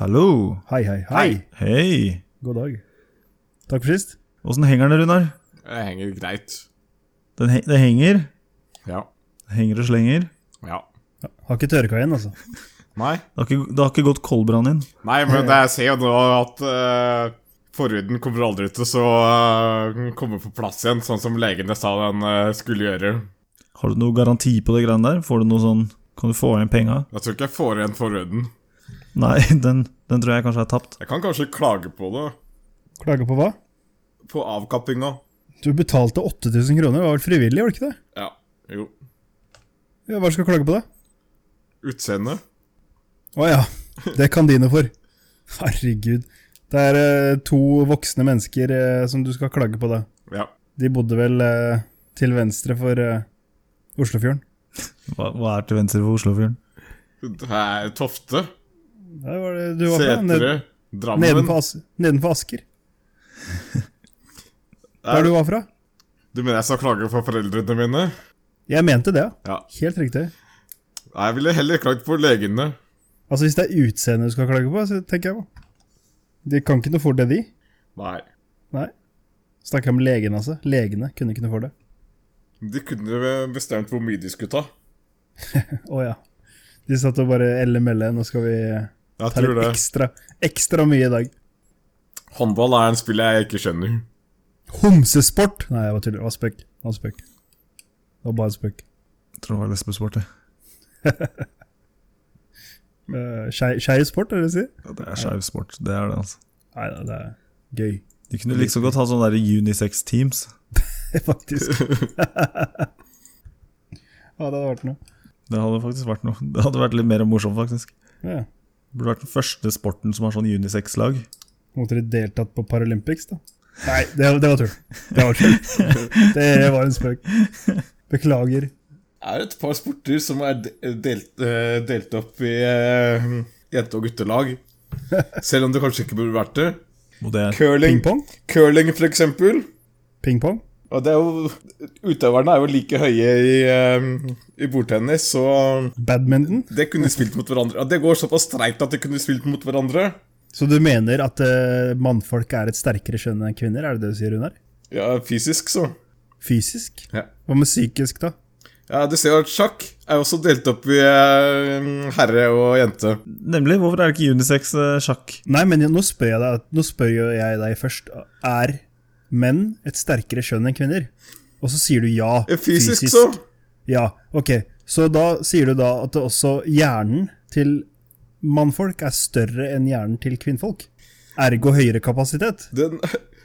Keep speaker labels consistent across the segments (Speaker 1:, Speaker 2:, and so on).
Speaker 1: Hallo.
Speaker 2: Hei, hei, hei.
Speaker 1: Hei.
Speaker 2: God dag. Takk for sist.
Speaker 1: Åssen henger den, Runar?
Speaker 3: Det henger greit.
Speaker 1: Den he det henger.
Speaker 3: Ja.
Speaker 1: Det henger og slenger.
Speaker 3: ja.
Speaker 2: Ja, har ikke tørka igjen, altså.
Speaker 3: Nei.
Speaker 1: Det har ikke, det har ikke gått koldbrann inn.
Speaker 3: Nei,
Speaker 2: Eh.
Speaker 3: men det jeg ser jo nå at eh, forhuden kommer aldri til å eh, komme på plass igjen, sånn som legene sa den eh, skulle gjøre.
Speaker 1: Har du noe garanti på det greiene der? Får du noe sånn Kan du få igjen penga?
Speaker 3: Jeg tror ikke jeg får igjen forhuden.
Speaker 1: Nei, den, den tror jeg kanskje er tapt.
Speaker 3: Jeg kan kanskje klage på det.
Speaker 2: Klager på hva?
Speaker 3: På avkappinga.
Speaker 2: Du betalte 8000 kroner, det var vel frivillig, var det ikke det?
Speaker 3: Ja. Jo.
Speaker 2: Ja, hva skal du klage på, da?
Speaker 3: Utseende.
Speaker 2: Å ja, det kan dine for. Herregud. Det er eh, to voksne mennesker eh, som du skal klage på, da.
Speaker 3: Ja.
Speaker 2: De bodde vel eh, til venstre for eh, Oslofjorden.
Speaker 1: Hva, hva er til venstre for Oslofjorden?
Speaker 3: Det er Tofte.
Speaker 2: Der var det du var fra. Ned,
Speaker 3: Setre. Drammen.
Speaker 2: nedenfor, As nedenfor Asker. Der
Speaker 3: Er-
Speaker 2: du var fra.
Speaker 3: Du mener jeg skal klage for foreldrene mine?
Speaker 2: Jeg mente det,
Speaker 3: Ja.
Speaker 2: Helt riktig.
Speaker 3: Nei, Jeg ville heller klagd på legene.
Speaker 2: Altså, hvis det er utseendet du skal klage på, så tenker jeg på. De kan ikke noe for det, de.
Speaker 3: Nei.
Speaker 2: Nei. Snakka om legene, altså. Legene kunne ikke noe for det.
Speaker 3: De kunne jo bestemt hvor mye de skulle ta.
Speaker 2: Å ja. De satt og bare elle-melle, nå skal vi
Speaker 3: Jeg
Speaker 2: ta
Speaker 3: tror
Speaker 2: litt
Speaker 3: det.
Speaker 2: ekstra, ekstra mye i dag.
Speaker 3: Håndball er en spill jeg ikke skjønner.
Speaker 2: Homsesport! Nei, jeg var tuller. Det var spøk. Det var spøk. Det var bare en spøk.
Speaker 1: Jeg tror det var lesbesport. jeg.
Speaker 2: Uh, Skei sport, er det det du sier?
Speaker 1: Ja, det er skeiv sport. Det er det, altså.
Speaker 2: Nei da, det er gøy,
Speaker 1: De kunne like så godt hatt sånne der unisex-teams.
Speaker 2: faktisk. ja, det hadde vært noe.
Speaker 1: Det hadde faktisk vært noe. Det hadde vært litt mer morsomt, faktisk.
Speaker 2: Ja. ja.
Speaker 1: Det burde vært den første sporten som har sånn unisex-lag.
Speaker 2: Måtte de deltatt på Paralympics, da? Nei, det, det var tull. Det var tull. Det var en spøk. Beklager.
Speaker 3: Det er et par sporter som er de- delt, eh, delt opp i eh, jente- og guttelag. Selv om det kanskje ikke burde vært det.
Speaker 1: Og det er
Speaker 3: Curling,
Speaker 2: Ping-pong?
Speaker 3: Curling for eksempel.
Speaker 2: Ping-pong?
Speaker 3: Og det er jo, utøverne er jo like høye i, eh, i bordtennis, så
Speaker 2: Badminton?
Speaker 3: det kunne de spilt mot hverandre. Ja, det går såpass streikt at de kunne spilt mot hverandre.
Speaker 2: Så du mener at eh, mannfolk er et sterkere kjønn enn kvinner, er det det du sier, Runar?
Speaker 3: Ja, fysisk, så.
Speaker 2: Fysisk?
Speaker 3: Ja.
Speaker 2: Hva med psykisk, da?
Speaker 3: Ja, du ser jo at sjakk er jo også delt opp i eh, herre og jente.
Speaker 1: Nemlig, hvorfor er det ikke eh, unisex-sjakk?
Speaker 2: Nei, men nå spør jeg deg, nå spør jo jeg deg først. Er menn et sterkere kjønn enn kvinner? Og så sier du ja.
Speaker 3: Fysisk, så.
Speaker 2: Ja, ok. Så da sier du da at det også hjernen til mannfolk er større enn hjernen til kvinnfolk? Ergo høyere kapasitet?
Speaker 3: Den,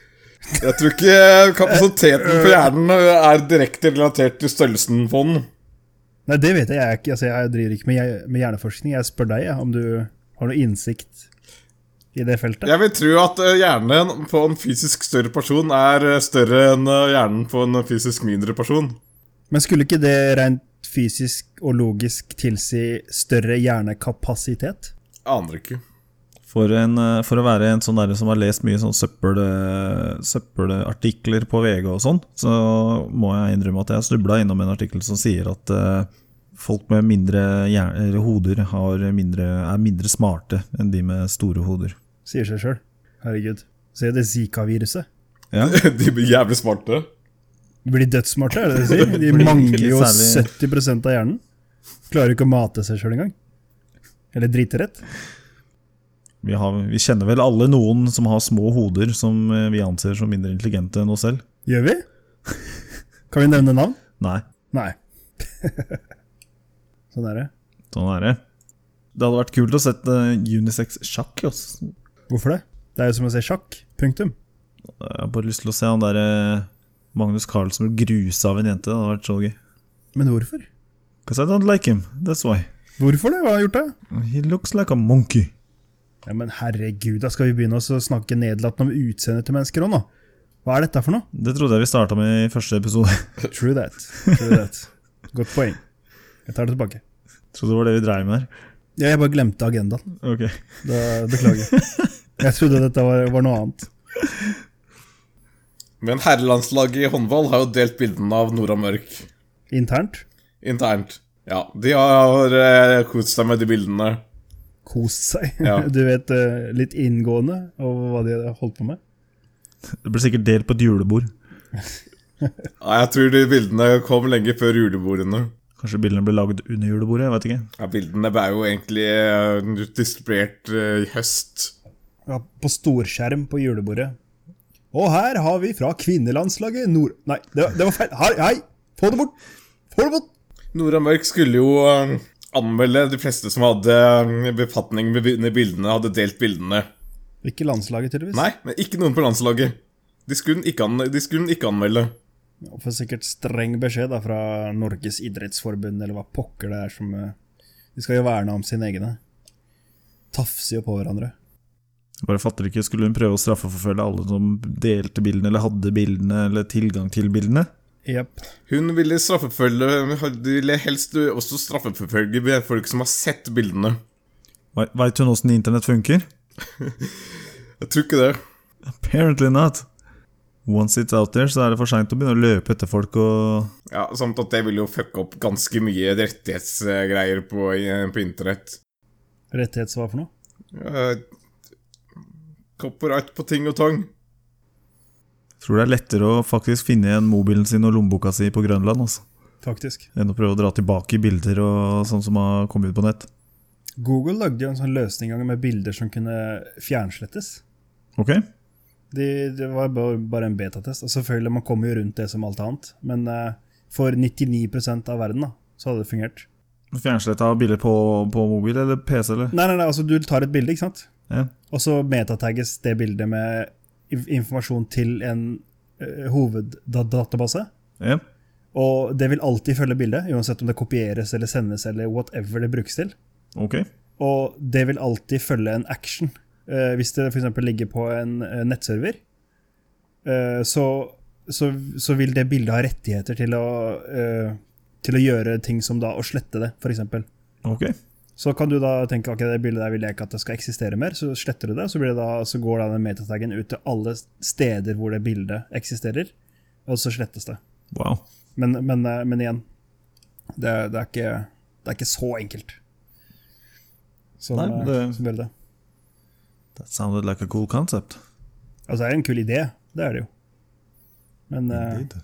Speaker 3: jeg tror ikke kapasiteten på hjernen er direkte relatert til størrelsen på den.
Speaker 2: Nei, det vet jeg, jeg er ikke. Altså, jeg driver ikke med, hjer- med hjerneforskning. Jeg spør deg jeg, om du har noe innsikt i det feltet.
Speaker 3: Jeg vil tro at eh, hjernen på en fysisk større person er eh, større enn eh, hjernen på en fysisk mindre person.
Speaker 2: Men skulle ikke det rent fysisk og logisk tilsi større hjernekapasitet?
Speaker 3: Aner ikke.
Speaker 1: For, en, eh, for å være en sånn der som har lest mye sånn søppel, eh, søppelartikler på VG og sånn, så må jeg innrømme at jeg snubla innom en artikkel som sier at eh, folk med mindre hjerne, eller hoder har mindre, er mindre smarte enn de med store hoder.
Speaker 2: Sier seg sjøl. Herregud. Se det Zika-viruset.
Speaker 1: Ja.
Speaker 3: De blir jævlig smarte.
Speaker 2: De blir dødsmarte, er det det du sier?
Speaker 1: De
Speaker 2: De
Speaker 1: blir
Speaker 2: mangler jo
Speaker 1: ikke særlig-
Speaker 2: 70 av hjernen. Klarer ikke å mate seg sjøl engang. Eller driterett.
Speaker 1: Vi, har, vi kjenner vel alle noen som har små hoder som eh, vi anser som mindre intelligente enn oss selv?
Speaker 2: Gjør vi? Kan vi nevne navn?
Speaker 1: Nei,
Speaker 2: Nei. sånn er det.
Speaker 1: sånn er det. Det hadde vært kult å sett eh, unisex-sjakk. ass.
Speaker 2: Hvorfor det? Det er jo som å se sjakk. Punktum.
Speaker 1: Jeg har bare lyst til å se han der eh, Magnus Carlsen bli grusa av en jente. Det hadde vært så gøy.
Speaker 2: Men hvorfor?
Speaker 1: 'Cause I don't like him, that's why.
Speaker 2: Hvorfor det? Hva har han gjort, da?
Speaker 1: He looks like a monkey.
Speaker 2: Ja, men herregud, da skal vi begynne å snakke nedlatende om utseendet til mennesker òg, nå? Hva er dette for noe?
Speaker 1: Det trodde jeg vi starta med i første episode.
Speaker 2: True that. True that. Godt poeng. Jeg tar det tilbake.
Speaker 1: trodde det var det vi dreiv med her.
Speaker 2: Ja, jeg bare glemte agendaen.
Speaker 1: Ok.
Speaker 2: Da, beklager. Jeg trodde dette var, var noe annet.
Speaker 3: Men herrelandslaget i håndball har jo delt bildene av Nora Mørk
Speaker 2: Internt.
Speaker 3: internt. Ja, de har eh, kost seg med de bildene.
Speaker 2: kost seg.
Speaker 3: Ja.
Speaker 2: Du vet, eh, litt inngående over hva de hadde holdt på med.
Speaker 1: Det blir sikkert delt på et julebord.
Speaker 3: Ja, jeg tror de bildene kom lenge før julebordene.
Speaker 1: Kanskje bildene blir lagd under julebordet, jeg vet ikke.
Speaker 3: Ja, bildene ble jo egentlig eh, distribuert eh, i høst.
Speaker 2: Ja, på storskjerm på julebordet. Og her har vi fra kvinnelandslaget Nord... Nei, det var, det var feil. Hei, hei! Få det bort! Få det bort!
Speaker 3: Nora Mørk skulle jo eh, anmelde de fleste som hadde eh, befatning med bi- med bildene, hadde delt bildene.
Speaker 2: Ikke landslaget, tydeligvis.
Speaker 3: Nei, men ikke noen på landslaget. De skulle hun ikke, an de skulle hun ikke anmelde.
Speaker 2: Og får sikkert streng beskjed da, fra Norges idrettsforbund, eller hva pokker det er som eh, De skal jo verne om sine egne. Tafser jo på hverandre.
Speaker 1: Jeg bare fatter ikke, Skulle hun prøve å straffeforfølge alle som delte bildene, eller hadde bildene, eller tilgang til bildene?
Speaker 2: Jepp.
Speaker 3: Hun ville straffeforfølge De ville helst også straffeforfølge folk som har sett bildene.
Speaker 1: Veit hun åssen internett funker?
Speaker 3: Jeg tror ikke det.
Speaker 1: Apparently not. Once it's out there, så er det for seint å begynne å løpe etter folk og
Speaker 3: Ja, Samt at det ville jo fucke opp ganske mye rettighetsgreier på, i- på internett.
Speaker 2: Rettighetsvar for noe?
Speaker 3: Eh, Copyright på ting og tang.
Speaker 1: Tror det er lettere å faktisk finne igjen mobilen sin og lommeboka si på Grønland altså,
Speaker 2: Faktisk.
Speaker 1: enn å prøve å dra tilbake i bilder og sånn som har kommet ut på nett.
Speaker 2: Google lagde jo en sånn løsning en gang med bilder som kunne fjernslettes.
Speaker 1: Ok?
Speaker 2: De, det var ba- bare en betatest. Og selvfølgelig, man kommer jo rundt det som alt annet. Men eh, for 99 av verden da, så hadde det fungert.
Speaker 1: Fjernsletta av bilder på, på mobil eller PC, eller?
Speaker 2: Nei, nei, nei, altså du tar et bilde, ikke sant?
Speaker 1: Ja.
Speaker 2: Og så metatagges det bildet med inf- informasjon til en eh, hoveddatabase.
Speaker 1: ja.
Speaker 2: Og det vil alltid følge bildet, uansett om det kopieres eller sendes eller whatever det brukes til.
Speaker 1: Ok.
Speaker 2: Og det vil alltid følge en action. Eh, hvis det f.eks. ligger på en eh, nettserver, eh, så, så, så vil det bildet ha rettigheter til å, eh, til å gjøre ting som da å slette det, f.eks.
Speaker 1: Ok.
Speaker 2: Så kan du da tenke ok, det bildet der vil jeg ikke at det skal eksistere mer, så sletter du det. Så, blir det da, så går da den metataggen ut til alle steder hvor det bildet eksisterer, og så slettes det.
Speaker 1: Wow.
Speaker 2: Men, men, eh, men igjen, det, det, er ikke, det er ikke så enkelt. Som,
Speaker 1: Nei,
Speaker 2: Nei, det...
Speaker 1: det-
Speaker 2: som bildet.
Speaker 1: That sounded like a cool concept.
Speaker 2: Altså, det er jo en kul idé, det er det jo. Men eh,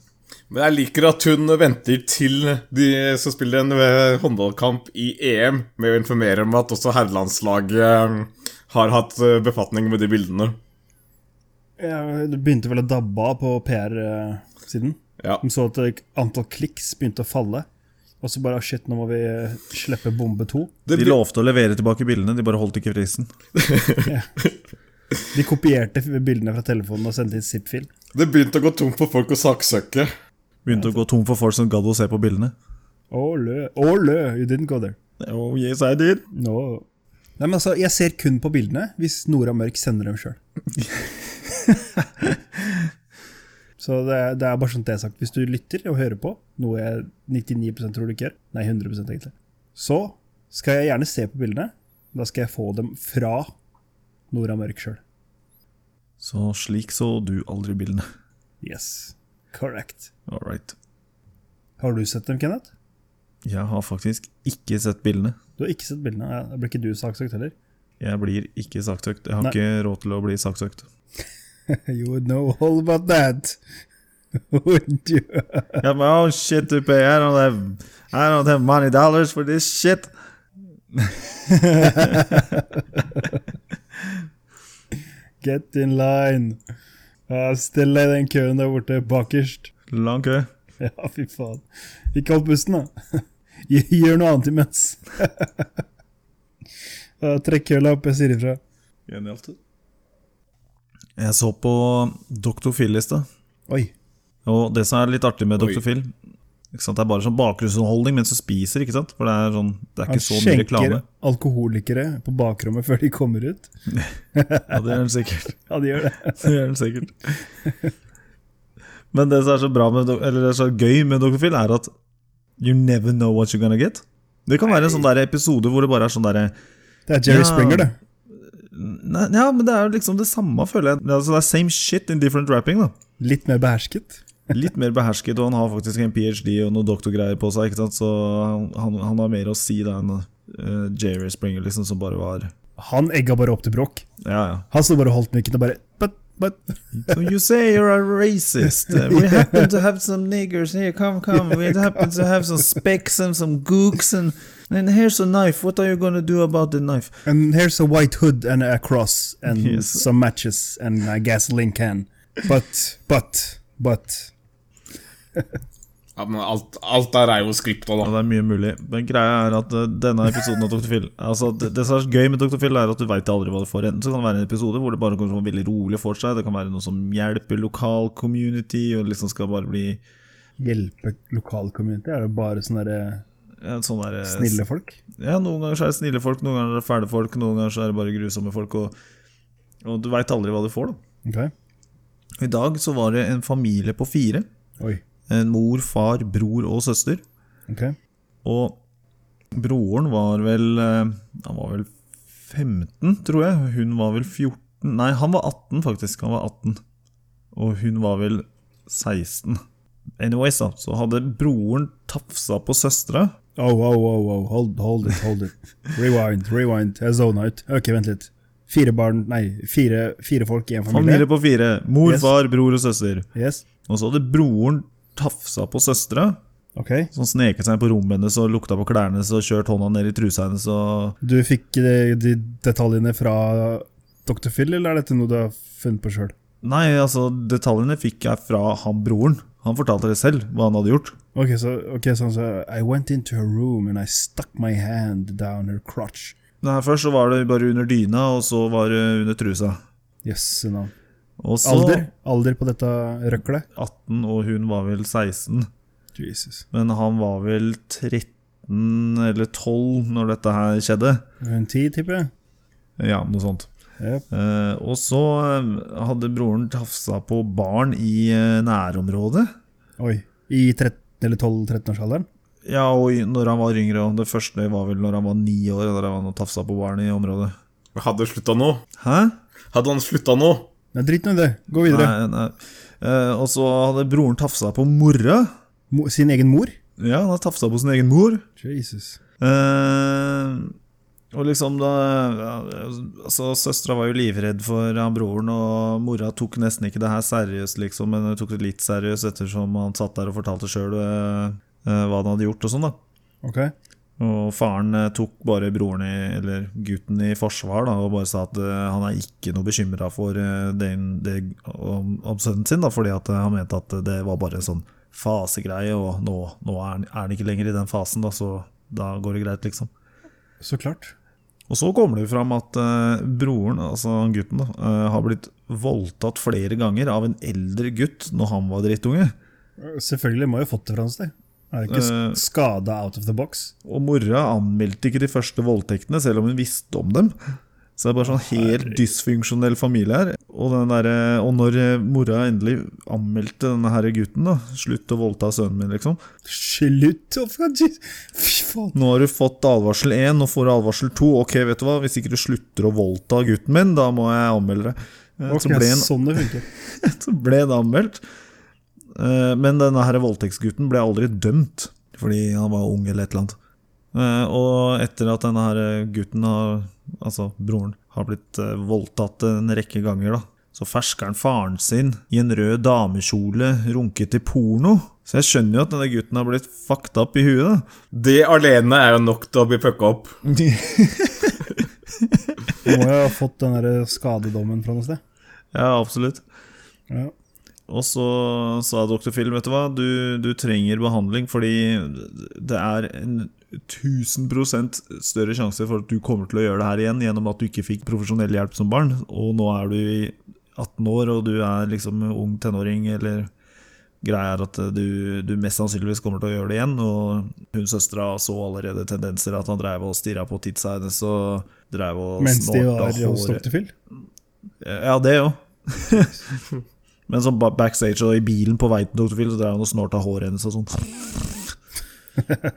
Speaker 3: Men jeg liker at hun venter til de som spiller en eh, håndballkamp i EM, med å informere om at også herrelandslaget eh, har hatt eh, befatning med de bildene.
Speaker 2: jeg- det begynte vel å dabbe av på PR-siden.
Speaker 3: Ja.
Speaker 2: De så at det- antall kliks begynte å falle. Og så bare shit, nå må vi eh, slippe bombe to.
Speaker 3: Det,
Speaker 1: De
Speaker 3: blir-
Speaker 1: lovte å levere tilbake bildene, de bare holdt ikke fristen.
Speaker 2: De kopierte bildene fra telefonen og sendte inn zip-fil.
Speaker 3: det begynte å gå tomt for folk å saksøke.
Speaker 1: Begynte å gå tom for folk som gadd å se på bildene.
Speaker 2: Å lø, å lø, you didn't go there.
Speaker 1: Oh, yes, I did.
Speaker 2: No. Nei, men altså, Jeg ser kun på bildene hvis Nora Mørk sender dem sjøl. Så det er, det er bare sånt det er sagt. Hvis du lytter og hører på, noe jeg 99 tror du ikke gjør, nei 100 egentlig, så skal jeg gjerne se på bildene. Da skal jeg få dem fra Nora Mørk sjøl.
Speaker 1: Så slik så du aldri bildene.
Speaker 2: Yes, correct.
Speaker 1: All right.
Speaker 2: Har du sett dem, Kenneth?
Speaker 1: Jeg har faktisk ikke sett bildene.
Speaker 2: Du har ikke sett bildene. Ja, Da blir ikke du saksøkt heller.
Speaker 1: Jeg blir ikke saksøkt. Jeg har
Speaker 2: Nei.
Speaker 1: ikke råd til å bli saksøkt.
Speaker 2: You would know all about that. Wouldn't you?
Speaker 1: Jeg bare, oh shit, you pay. I don't have, I don't have money dollars for this shit.
Speaker 2: Get in line. Ja, Still deg i den køen der borte, bakerst.
Speaker 1: Lang kø.
Speaker 2: Ja, fy faen. Ikke hold pusten, da. Gj- Gjør noe annet imens. Ja, Trekk køla opp, jeg sier ifra.
Speaker 1: Genialt. Jeg så på Dr. Phil i stad.
Speaker 2: Oi.
Speaker 1: Og det som er litt artig med
Speaker 3: Oi.
Speaker 1: Dr. Phil ikke sant? Det er bare sånn bakgrunnsunderholdning mens du spiser, ikke sant? For det er, sånn, det er
Speaker 2: Han
Speaker 1: ikke så mye
Speaker 2: skjenker
Speaker 1: reklame.
Speaker 2: alkoholikere på bakrommet før de kommer ut.
Speaker 1: Ja, det gjør den sikkert.
Speaker 2: Ja, de gjør det.
Speaker 1: Det gjør den sikkert. Men det som er så bra med, do- eller det er så gøy med Dr. Phil, er at you never know what you're gonna get. Det kan være en sånn der episode hvor det bare er sånn derre
Speaker 2: Det er Jerry
Speaker 1: Ja.
Speaker 2: Springer, det.
Speaker 1: Nei, Ja, men det er jo liksom det samme, føler jeg. Det er, altså, det er same shit in different wrapping, da.
Speaker 2: Litt mer behersket.
Speaker 1: Litt mer behersket, og han har faktisk en ph.d. og noe doktorgreier på seg, ikke sant? så han, han har mer å si da enn eh, Jerry Springer, liksom, som bare var
Speaker 2: Han egga bare opp til bråk.
Speaker 1: Ja, ja.
Speaker 2: Han sto bare og holdt mikken og bare but, but.
Speaker 1: So you say you're a racist. Uh, We happen to have some niggers here. Come, come. We happen to have some specks and some gooks and and here's a knife. What are you gonna do about the knife?
Speaker 2: And here's a white hood and a cross and
Speaker 1: Yes.
Speaker 2: some matches and a gasoline can. But, but, but
Speaker 3: Ja, men alt, alt der er jo skripta,
Speaker 1: Ja,
Speaker 3: da.
Speaker 1: det er mye mulig. Men greia er at eh, denne episoden av Dr. Phil Altså, det, det som er gøy med Dr. Phil, er at du veit aldri hva du får. Enten så kan det være en episode hvor det bare kommer til å være veldig rolig for seg, det kan være noe som hjelper lokal community, og liksom skal bare bli
Speaker 2: Hjelpe lokalcommunity? Er det bare sånne der, eh,
Speaker 1: ja, sånn der eh,
Speaker 2: snille folk?
Speaker 1: Ja, noen ganger så er det snille folk, noen ganger er det fæle folk, noen ganger så er det bare grusomme folk, og, og du veit aldri hva du får, da.
Speaker 2: Ok.
Speaker 1: I dag så var det en familie på fire.
Speaker 2: Oi.
Speaker 1: En mor, far, bror og søster.
Speaker 2: Ok.
Speaker 1: Og broren var vel eh, Han var vel 15, tror jeg. Hun var vel 14 Nei, han var 18, faktisk. Han var 18. Og hun var vel 16. Anyways, da, så hadde broren tafsa på søstera.
Speaker 2: Oh, oh, oh, oh. Hold, hold it, hold it. Rewind, rewind. Jeg zona ut. Ok, vent litt. Fire barn, nei, fire, fire folk i en familie.
Speaker 1: Familie på fire. Mor,
Speaker 2: Yes.
Speaker 1: far, bror og søster.
Speaker 2: Yes.
Speaker 1: Og så hadde broren tafsa på søstera.
Speaker 2: Ok.
Speaker 1: Som sneket seg inn på rommet hennes og lukta på klærne hennes og kjørt hånda ned i trusa hennes. og...
Speaker 2: Du fikk de, de detaljene fra Dr. Phil, eller er dette noe du har funnet på sjøl?
Speaker 1: Nei, altså detaljene fikk jeg fra han broren. Han fortalte det selv, hva han hadde gjort.
Speaker 2: Ok, så ok, sånn så I went into her room and I stuck my hand down her crotch.
Speaker 1: Nei, Først så var det bare under dyna, og så var det under trusa.
Speaker 2: Jøsse navn.
Speaker 1: Og så
Speaker 2: Alder? Alder på dette røklet?
Speaker 1: 18, og hun var vel 16.
Speaker 2: Jesus.
Speaker 1: Men han var vel 13 eller 12 når dette her skjedde.
Speaker 2: En ti, tipper jeg?
Speaker 1: Ja, noe sånt.
Speaker 2: Yep.
Speaker 1: Eh, og så eh, hadde broren tafsa på barn i eh, nærområdet.
Speaker 2: Oi. I 13 eller 12-13-årsalderen?
Speaker 1: Ja, og i- når han var yngre. og Det første var vel når han var ni år. Der han tafsa på barn i området.
Speaker 3: Hadde slutta nå?
Speaker 1: Hæ?
Speaker 3: Hadde han slutta nå?
Speaker 2: Nei, drit nå i det. Gå videre.
Speaker 1: Nei, nei. Eh, og så hadde broren tafsa på mora.
Speaker 2: Mo sin egen mor?
Speaker 1: Ja, han hadde tafsa på sin egen mor.
Speaker 2: Jesus.
Speaker 1: Eh, og liksom da ja, altså, Søstera var jo livredd for han broren, og mora tok nesten ikke det her seriøst, liksom, men hun tok det litt seriøst ettersom han satt der og fortalte sjøl hva han hadde gjort og sånn, da.
Speaker 2: Ok.
Speaker 1: Og faren eh, tok bare broren i, eller gutten i forsvar da, og bare sa at eh, han er ikke noe bekymra for eh, den- det, om, om sønnen sin, da, fordi at eh, han mente at det var bare en sånn fasegreie, og nå, nå er, han, er han ikke lenger i den fasen, da, så da går det greit, liksom.
Speaker 2: Så klart.
Speaker 1: Og så kommer det jo fram at eh, broren, altså han gutten, da, eh, har blitt voldtatt flere ganger av en eldre gutt når han var drittunge.
Speaker 2: Selvfølgelig må jo ha fått det fra noe sted. Er det ikke
Speaker 1: Eh.
Speaker 2: uh, skada out of the box?
Speaker 1: Og mora anmeldte ikke de første voldtektene, selv om hun visste om dem. Så det er bare sånn helt dysfunksjonell familie her. Og, den derre- og når eh, mora endelig anmeldte denne her gutten, da Slutt å voldta sønnen min, liksom.
Speaker 2: Slutt! å- Fy faen.
Speaker 1: Nå har du fått advarsel én, nå får du advarsel to. Ok, vet du hva, hvis ikke du slutter å voldta gutten min, da må jeg anmelde det. Eh,
Speaker 2: Ok,
Speaker 1: så, ble en,
Speaker 2: sånn det funker.
Speaker 1: så ble det anmeldt. Eh, Men denne her voldtektsgutten ble aldri dømt, fordi han var ung eller et eller annet. Eh, Og etter at denne her gutten, har, altså broren, har blitt eh, voldtatt en rekke ganger, da, så fersker han faren sin i en rød damekjole runket til porno. Så jeg skjønner jo at denne gutten har blitt fucked up i huet. da.
Speaker 3: Det alene er jo nok til å bli pucka opp.
Speaker 2: Du må jo ha fått den der skadedommen fra noe sted.
Speaker 1: Ja, absolutt.
Speaker 2: Ja.
Speaker 1: Og så sa dr. Phil, vet du hva, du, du trenger behandling fordi det er en 1000 større sjanse for at du kommer til å gjøre det her igjen gjennom at du ikke fikk profesjonell hjelp som barn, og nå er du i 18 år og du er liksom ung tenåring eller Greia er at du, du mest sannsynligvis kommer til å gjøre det igjen. Og hun søstera så allerede tendenser at han dreiv og stirra på titsa hennes og dreiv og
Speaker 2: Mens de
Speaker 1: snorta
Speaker 2: var hos
Speaker 1: håret.
Speaker 2: Dr. Phil.
Speaker 1: Eh, Ja, det jo. Men sånn ba- backstage og i bilen på vei til Dr. Phil, så dreiv han og snorta håret hennes og sånn.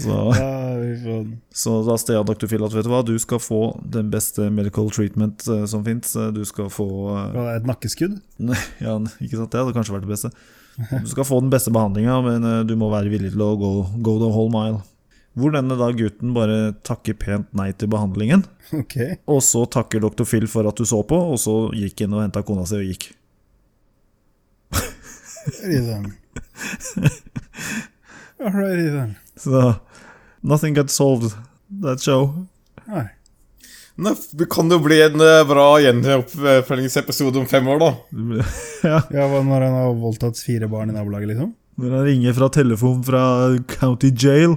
Speaker 1: Så,
Speaker 2: Ja, vi får-
Speaker 1: så da steg Dr. Phil at vet du hva, du skal få den beste medical treatment eh, som fins. Du skal få eh,
Speaker 2: Var det et nakkeskudd?
Speaker 1: Ja, ikke sant, det hadde kanskje vært det beste. Du skal få den beste behandlinga, men eh, du må være villig til å go, go the whole mile. Hvor denne da gutten bare takker pent nei til behandlingen.
Speaker 2: Ok.
Speaker 1: Og så takker dr. Phil for at du så på, og så gikk inn og henta kona si og gikk.
Speaker 2: Liksom. Alrighty then.
Speaker 1: Så nothing got solved that show.
Speaker 2: Nei.
Speaker 3: Nei, Det kan jo bli en eh, bra gjenoppfølgingsepisode om fem år, da.
Speaker 1: ja,
Speaker 2: Ja, hva når han har voldtatt fire barn i nabolaget, liksom?
Speaker 1: når han ringer fra telefon fra county jail,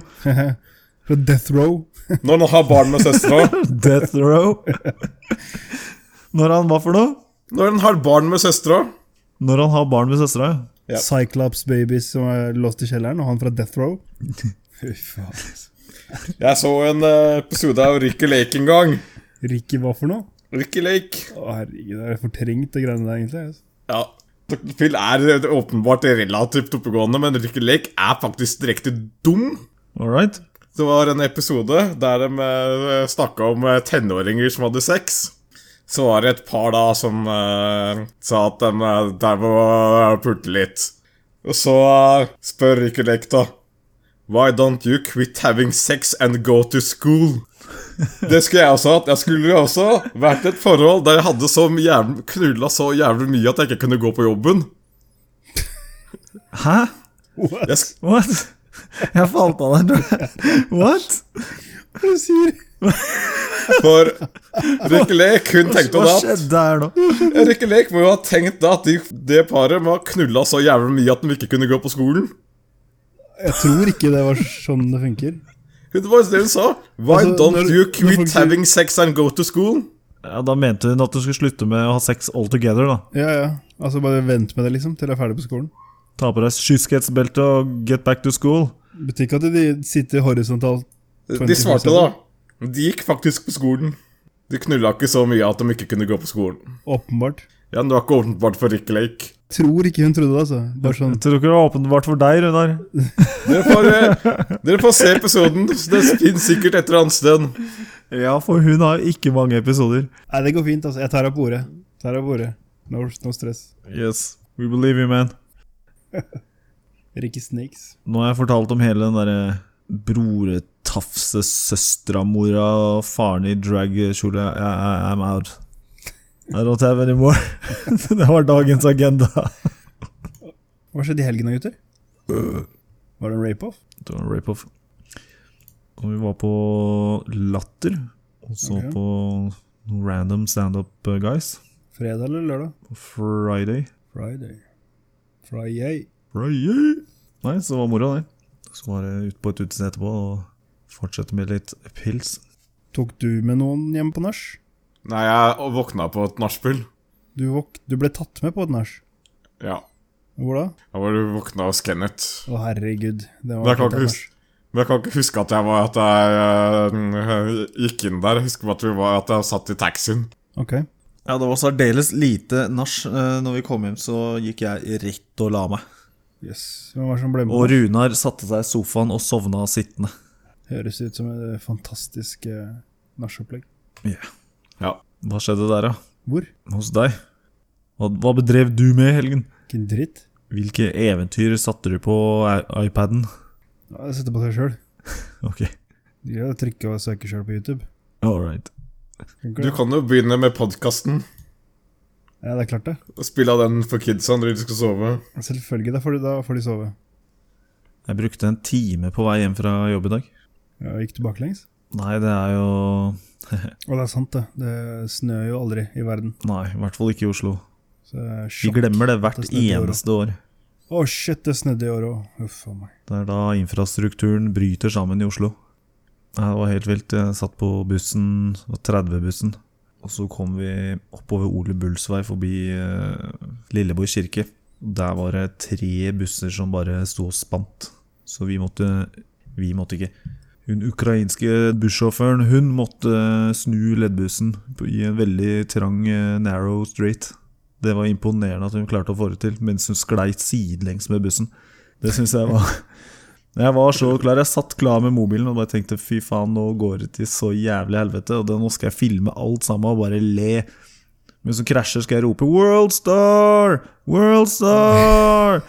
Speaker 2: Fra Death Row?
Speaker 3: Når han har barn med søstera.
Speaker 1: death row Når han hva for noe?
Speaker 3: Når han har barn med søstera.
Speaker 1: Når han har barn med søstera. ja.
Speaker 3: Ja.
Speaker 2: Cyclops Babies som er låst i kjelleren, og han fra Death Row? Fy faen. altså.
Speaker 3: Jeg så en eh, episode av Ricky Lake en gang.
Speaker 2: Ricky, hva for noe?
Speaker 3: Ricky Lake.
Speaker 2: Å, herregud, det er fortrengt, det greiene der, egentlig. altså.
Speaker 3: Ja. Dr. Phil er eh, åpenbart relativt oppegående, men Ricky Lake er faktisk direkte dum.
Speaker 1: All right.
Speaker 3: Det var en episode der de snakka om eh, tenåringer som hadde sex. Så var det et par da som eh, sa at de eh, der må pulte litt. Og så eh, spør Ricky Lake, da. Why don't you quit having sex and go to school? Det skulle jeg også hatt. Jeg skulle jo også vært i et forhold der jeg hadde så jævlig, knulla så jævlig mye at jeg ikke kunne gå på jobben.
Speaker 1: Hæ?
Speaker 2: What?
Speaker 3: Jeg, sk-
Speaker 1: What? Jeg falt av der. What?
Speaker 2: Hva er det du sier?
Speaker 3: for Ricky Lake, hun tenkte jo
Speaker 1: Hva
Speaker 3: da at
Speaker 1: skjedde her nå?
Speaker 3: Rikke Lake må jo ha tenkt da at de, det paret må ha knulla så jævlig mye at de ikke kunne gå på skolen.
Speaker 2: Jeg tror ikke det var sånn det funker.
Speaker 3: Det var jo det hun sa. Why
Speaker 2: Altså,
Speaker 3: don't
Speaker 2: når-
Speaker 3: you
Speaker 2: når
Speaker 3: quit
Speaker 2: folk sier-
Speaker 3: having sex and go to school?
Speaker 1: Ja, Da mente hun at du skulle slutte med å ha sex all together. da
Speaker 2: Ja, ja. Altså, bare vent med det, liksom, til jeg er ferdig på skolen.
Speaker 1: Ta på deg skysketsbeltet og get back to school.
Speaker 2: Betyr ikke at de sitter horisontalt.
Speaker 3: De svarte da. De gikk faktisk på skolen. De knulla ikke så mye at de ikke kunne gå på skolen.
Speaker 2: Åpenbart.
Speaker 3: Ja, men Det var ikke åpenbart for Rikke Lake.
Speaker 2: Tror ikke hun trodde det, altså. Bare sånn
Speaker 1: Jeg tror ikke det var åpenbart for deg, Runar.
Speaker 3: Dere får, eh, dere får se episoden. Det finnes sikkert et eller annet sted.
Speaker 1: Ja, for hun har ikke mange episoder.
Speaker 2: Nei, det går fint, altså. Jeg tar deg på ordet. Tar deg på ordet. No, no stress.
Speaker 1: Yes, we believe you, man.
Speaker 2: Ricky Snakes.
Speaker 1: Nå har jeg fortalt om hele den derre broretafse søstramora og faren i dragkjole I- I- I'm out. I don't have any more. det var dagens agenda.
Speaker 2: Hva skjedde i helgen da, gutter?
Speaker 3: Øh.
Speaker 2: Var det en rape-off?
Speaker 1: Det var en rape-off. Og vi var på Latter, og så
Speaker 2: Ok.
Speaker 1: på noen random standup eh, guys
Speaker 2: Fredag eller lørdag?
Speaker 1: på Friday.
Speaker 2: Friday. Friday.
Speaker 1: Friday. Nei, så det var moro, det. Så var det ut på et utested etterpå og fortsette med litt pils.
Speaker 2: Tok du med noen hjem på nach?
Speaker 3: Nei, jeg våkna på et nachspiel.
Speaker 2: Du, våk- du ble tatt med på et nach.
Speaker 3: Ja.
Speaker 2: Hvor da?
Speaker 3: Jeg var våkna hos Kenneth.
Speaker 2: Å, herregud. Det
Speaker 3: Men jeg, kan
Speaker 2: et
Speaker 3: ikke
Speaker 2: nach.
Speaker 3: huske, men jeg kan ikke huske at jeg, var, at jeg eh, gikk inn der. Jeg husker bare at, vi var, at jeg satt i taxien.
Speaker 2: Ok.
Speaker 1: Ja, det var særdeles lite nach. Eh, Når vi kom hjem, så gikk jeg rett og la meg.
Speaker 2: Yes. Hvem var det som ble med?
Speaker 1: Og Runar satte seg i sofaen og sovna sittende.
Speaker 2: Høres ut som et fantastisk eh, nachopplegg.
Speaker 1: Ja.
Speaker 3: Ja.
Speaker 1: Hva skjedde der, da?
Speaker 2: Hvor?
Speaker 1: Hos deg? Hva, hva bedrev du med i helgen?
Speaker 2: Ikke en dritt.
Speaker 1: Hvilke eventyr satte du på i- iPaden?
Speaker 2: Ja, det setter på seg sjøl.
Speaker 1: Ok,
Speaker 2: Du kan trykke og søke sjøl på YouTube.
Speaker 1: all right.
Speaker 2: Kan ikke
Speaker 3: Du
Speaker 2: det?
Speaker 3: kan jo begynne med podkasten.
Speaker 2: Ja, det er klart, det.
Speaker 3: Spille av den for kidsa når de skal sove.
Speaker 2: Selvfølgelig. Da får de, da får de sove.
Speaker 1: Jeg brukte en time på vei hjem fra jobb i dag.
Speaker 2: Ja, gikk du baklengs?
Speaker 1: Nei, det er jo
Speaker 2: Og det er sant, det. Det snør jo aldri i verden.
Speaker 1: Nei, i hvert fall ikke i Oslo.
Speaker 2: Så det er
Speaker 1: Vi
Speaker 2: sjokk.
Speaker 1: glemmer det hvert
Speaker 2: Det snødde i år, da.
Speaker 1: eneste år.
Speaker 2: Å, shit, det snødde i år òg. Huff a meg.
Speaker 1: Det er da infrastrukturen bryter sammen i Oslo. Nei, Det var helt vilt. Jeg satt på bussen, det var 30-bussen. Og så kom vi oppover Ole Bulls vei forbi eh, Lilleborg kirke. Der var det tre busser som bare sto og spant. Så vi måtte Vi måtte ikke. Hun ukrainske bussjåføren hun måtte eh, snu leddbussen på- i en veldig trang, eh, narrow street. Det var imponerende at hun klarte å få det til mens hun sklei sidelengs med bussen. Det syns jeg var Jeg var så klar. Jeg satt klar med mobilen og bare tenkte fy faen, nå går det til så jævlig helvete, og det, nå skal jeg filme alt sammen og bare le. Men så krasjer skal jeg rope 'Worldstar! Worldstar!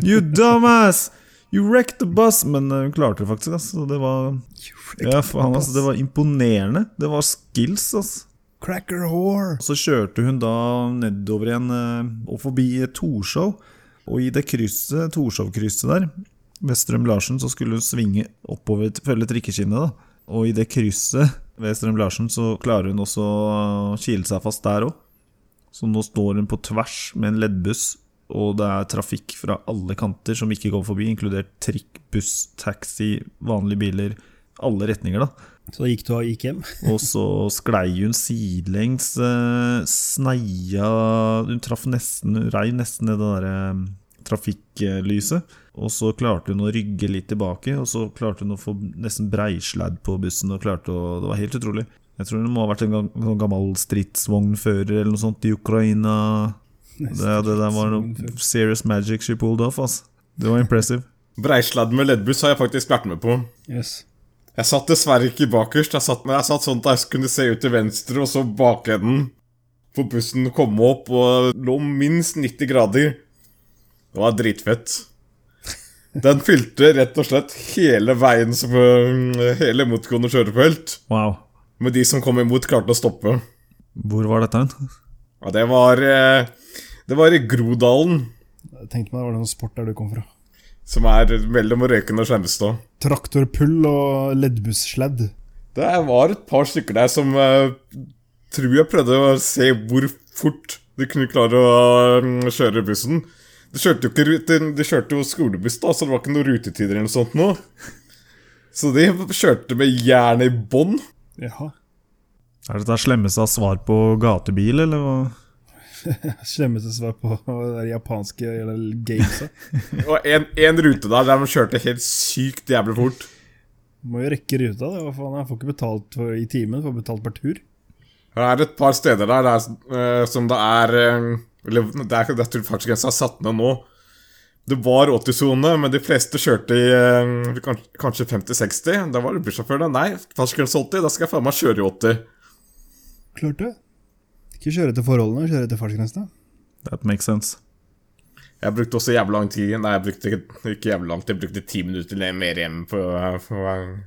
Speaker 1: You dumbass! You wrecked the bus! Men eh, hun klarte det faktisk. ass. Så det var ja, faen, ass, Det var imponerende. Det var skills, altså.
Speaker 2: Cracker whore!
Speaker 1: Så kjørte hun da nedover igjen eh, og forbi Torshov. Og i det krysset, Torshov-krysset der, Vestrøm Larsen, så skulle hun svinge oppover, t- følge trikkeskinnet, da. Og i det krysset ved Strøm Larsen så klarer hun også å kile seg fast der òg. Så nå står hun på tvers med en leddbuss, og det er trafikk fra alle kanter som ikke går forbi, inkludert trikk, buss, taxi, vanlige biler. Alle retninger, da.
Speaker 2: Så da gikk du og gikk hjem?
Speaker 1: Og så sklei hun sidelengs, eh, sneia Hun traff nesten, rei nesten i det derre eh, trafikklyset. Og så klarte hun å rygge litt tilbake, og så klarte hun å få nesten breisladd på bussen. Og klarte å, det var helt utrolig. Jeg tror hun må ha vært en gam- sånn gammel stridsvognfører eller noe sånt i Ukraina. Det, det der var noe serious magic she pulled off, ass. Det var impressive.
Speaker 3: Breisladd med leddbuss har jeg faktisk vært med på.
Speaker 2: Yes.
Speaker 3: Jeg satt dessverre ikke bakerst. Jeg satt, men jeg satt sånn at jeg kunne se ut til venstre, og så bakenden på bussen komme opp og lå minst 90 grader. Det var dritfett. Den fylte rett og slett hele veien som øh, hele motgående kjørefelt.
Speaker 1: Wow.
Speaker 3: Men de som kom imot, klarte å stoppe.
Speaker 1: Hvor var dette hen?
Speaker 3: Ja, det var eh, Det var i Grodalen,
Speaker 2: Jeg tenkte meg det var noen sport der du kom fra.
Speaker 3: som er mellom Røyken og Skjemmestad.
Speaker 2: Traktorpull og leddbussladd.
Speaker 3: Det var et par stykker der som eh, tror jeg prøvde å se hvor fort de kunne klare å eh, kjøre bussen. De kjørte jo, ikke, rute- de kjørte jo skolebuss, da, så det var ikke noen rutetider eller noe sånt nå. Så de kjørte med jernet i bånn.
Speaker 2: Jaha.
Speaker 1: Er dette slemmeste av svar på gatebil, eller hva?
Speaker 2: Slemmeste svar på det japanske eller gamesa.
Speaker 3: Og én rute der der de kjørte helt sykt jævlig fort.
Speaker 2: Må jo rekke ruta, det. Hva faen, jeg får ikke betalt for, i timen, får betalt per tur.
Speaker 3: Det er et par steder der, der eh, som det er eh, Eller det er, jeg tror faktisk grensa er satt ned nå. Det var 80-sone, men de fleste kjørte i eh, kan- kanskje 50-60. Da var det bussjåfør da. Nei, fartsgrense 80, da skal jeg faen meg kjøre i 80.
Speaker 2: Klart det. Ikke kjøre etter forholdene, kjøre etter fartsgrensene.
Speaker 1: That makes sense.
Speaker 3: Jeg brukte også jævlig lang tid Nei, jeg brukte ikke, ikke jævlig langt, jeg brukte ti minutter eller mer hjem på på vei-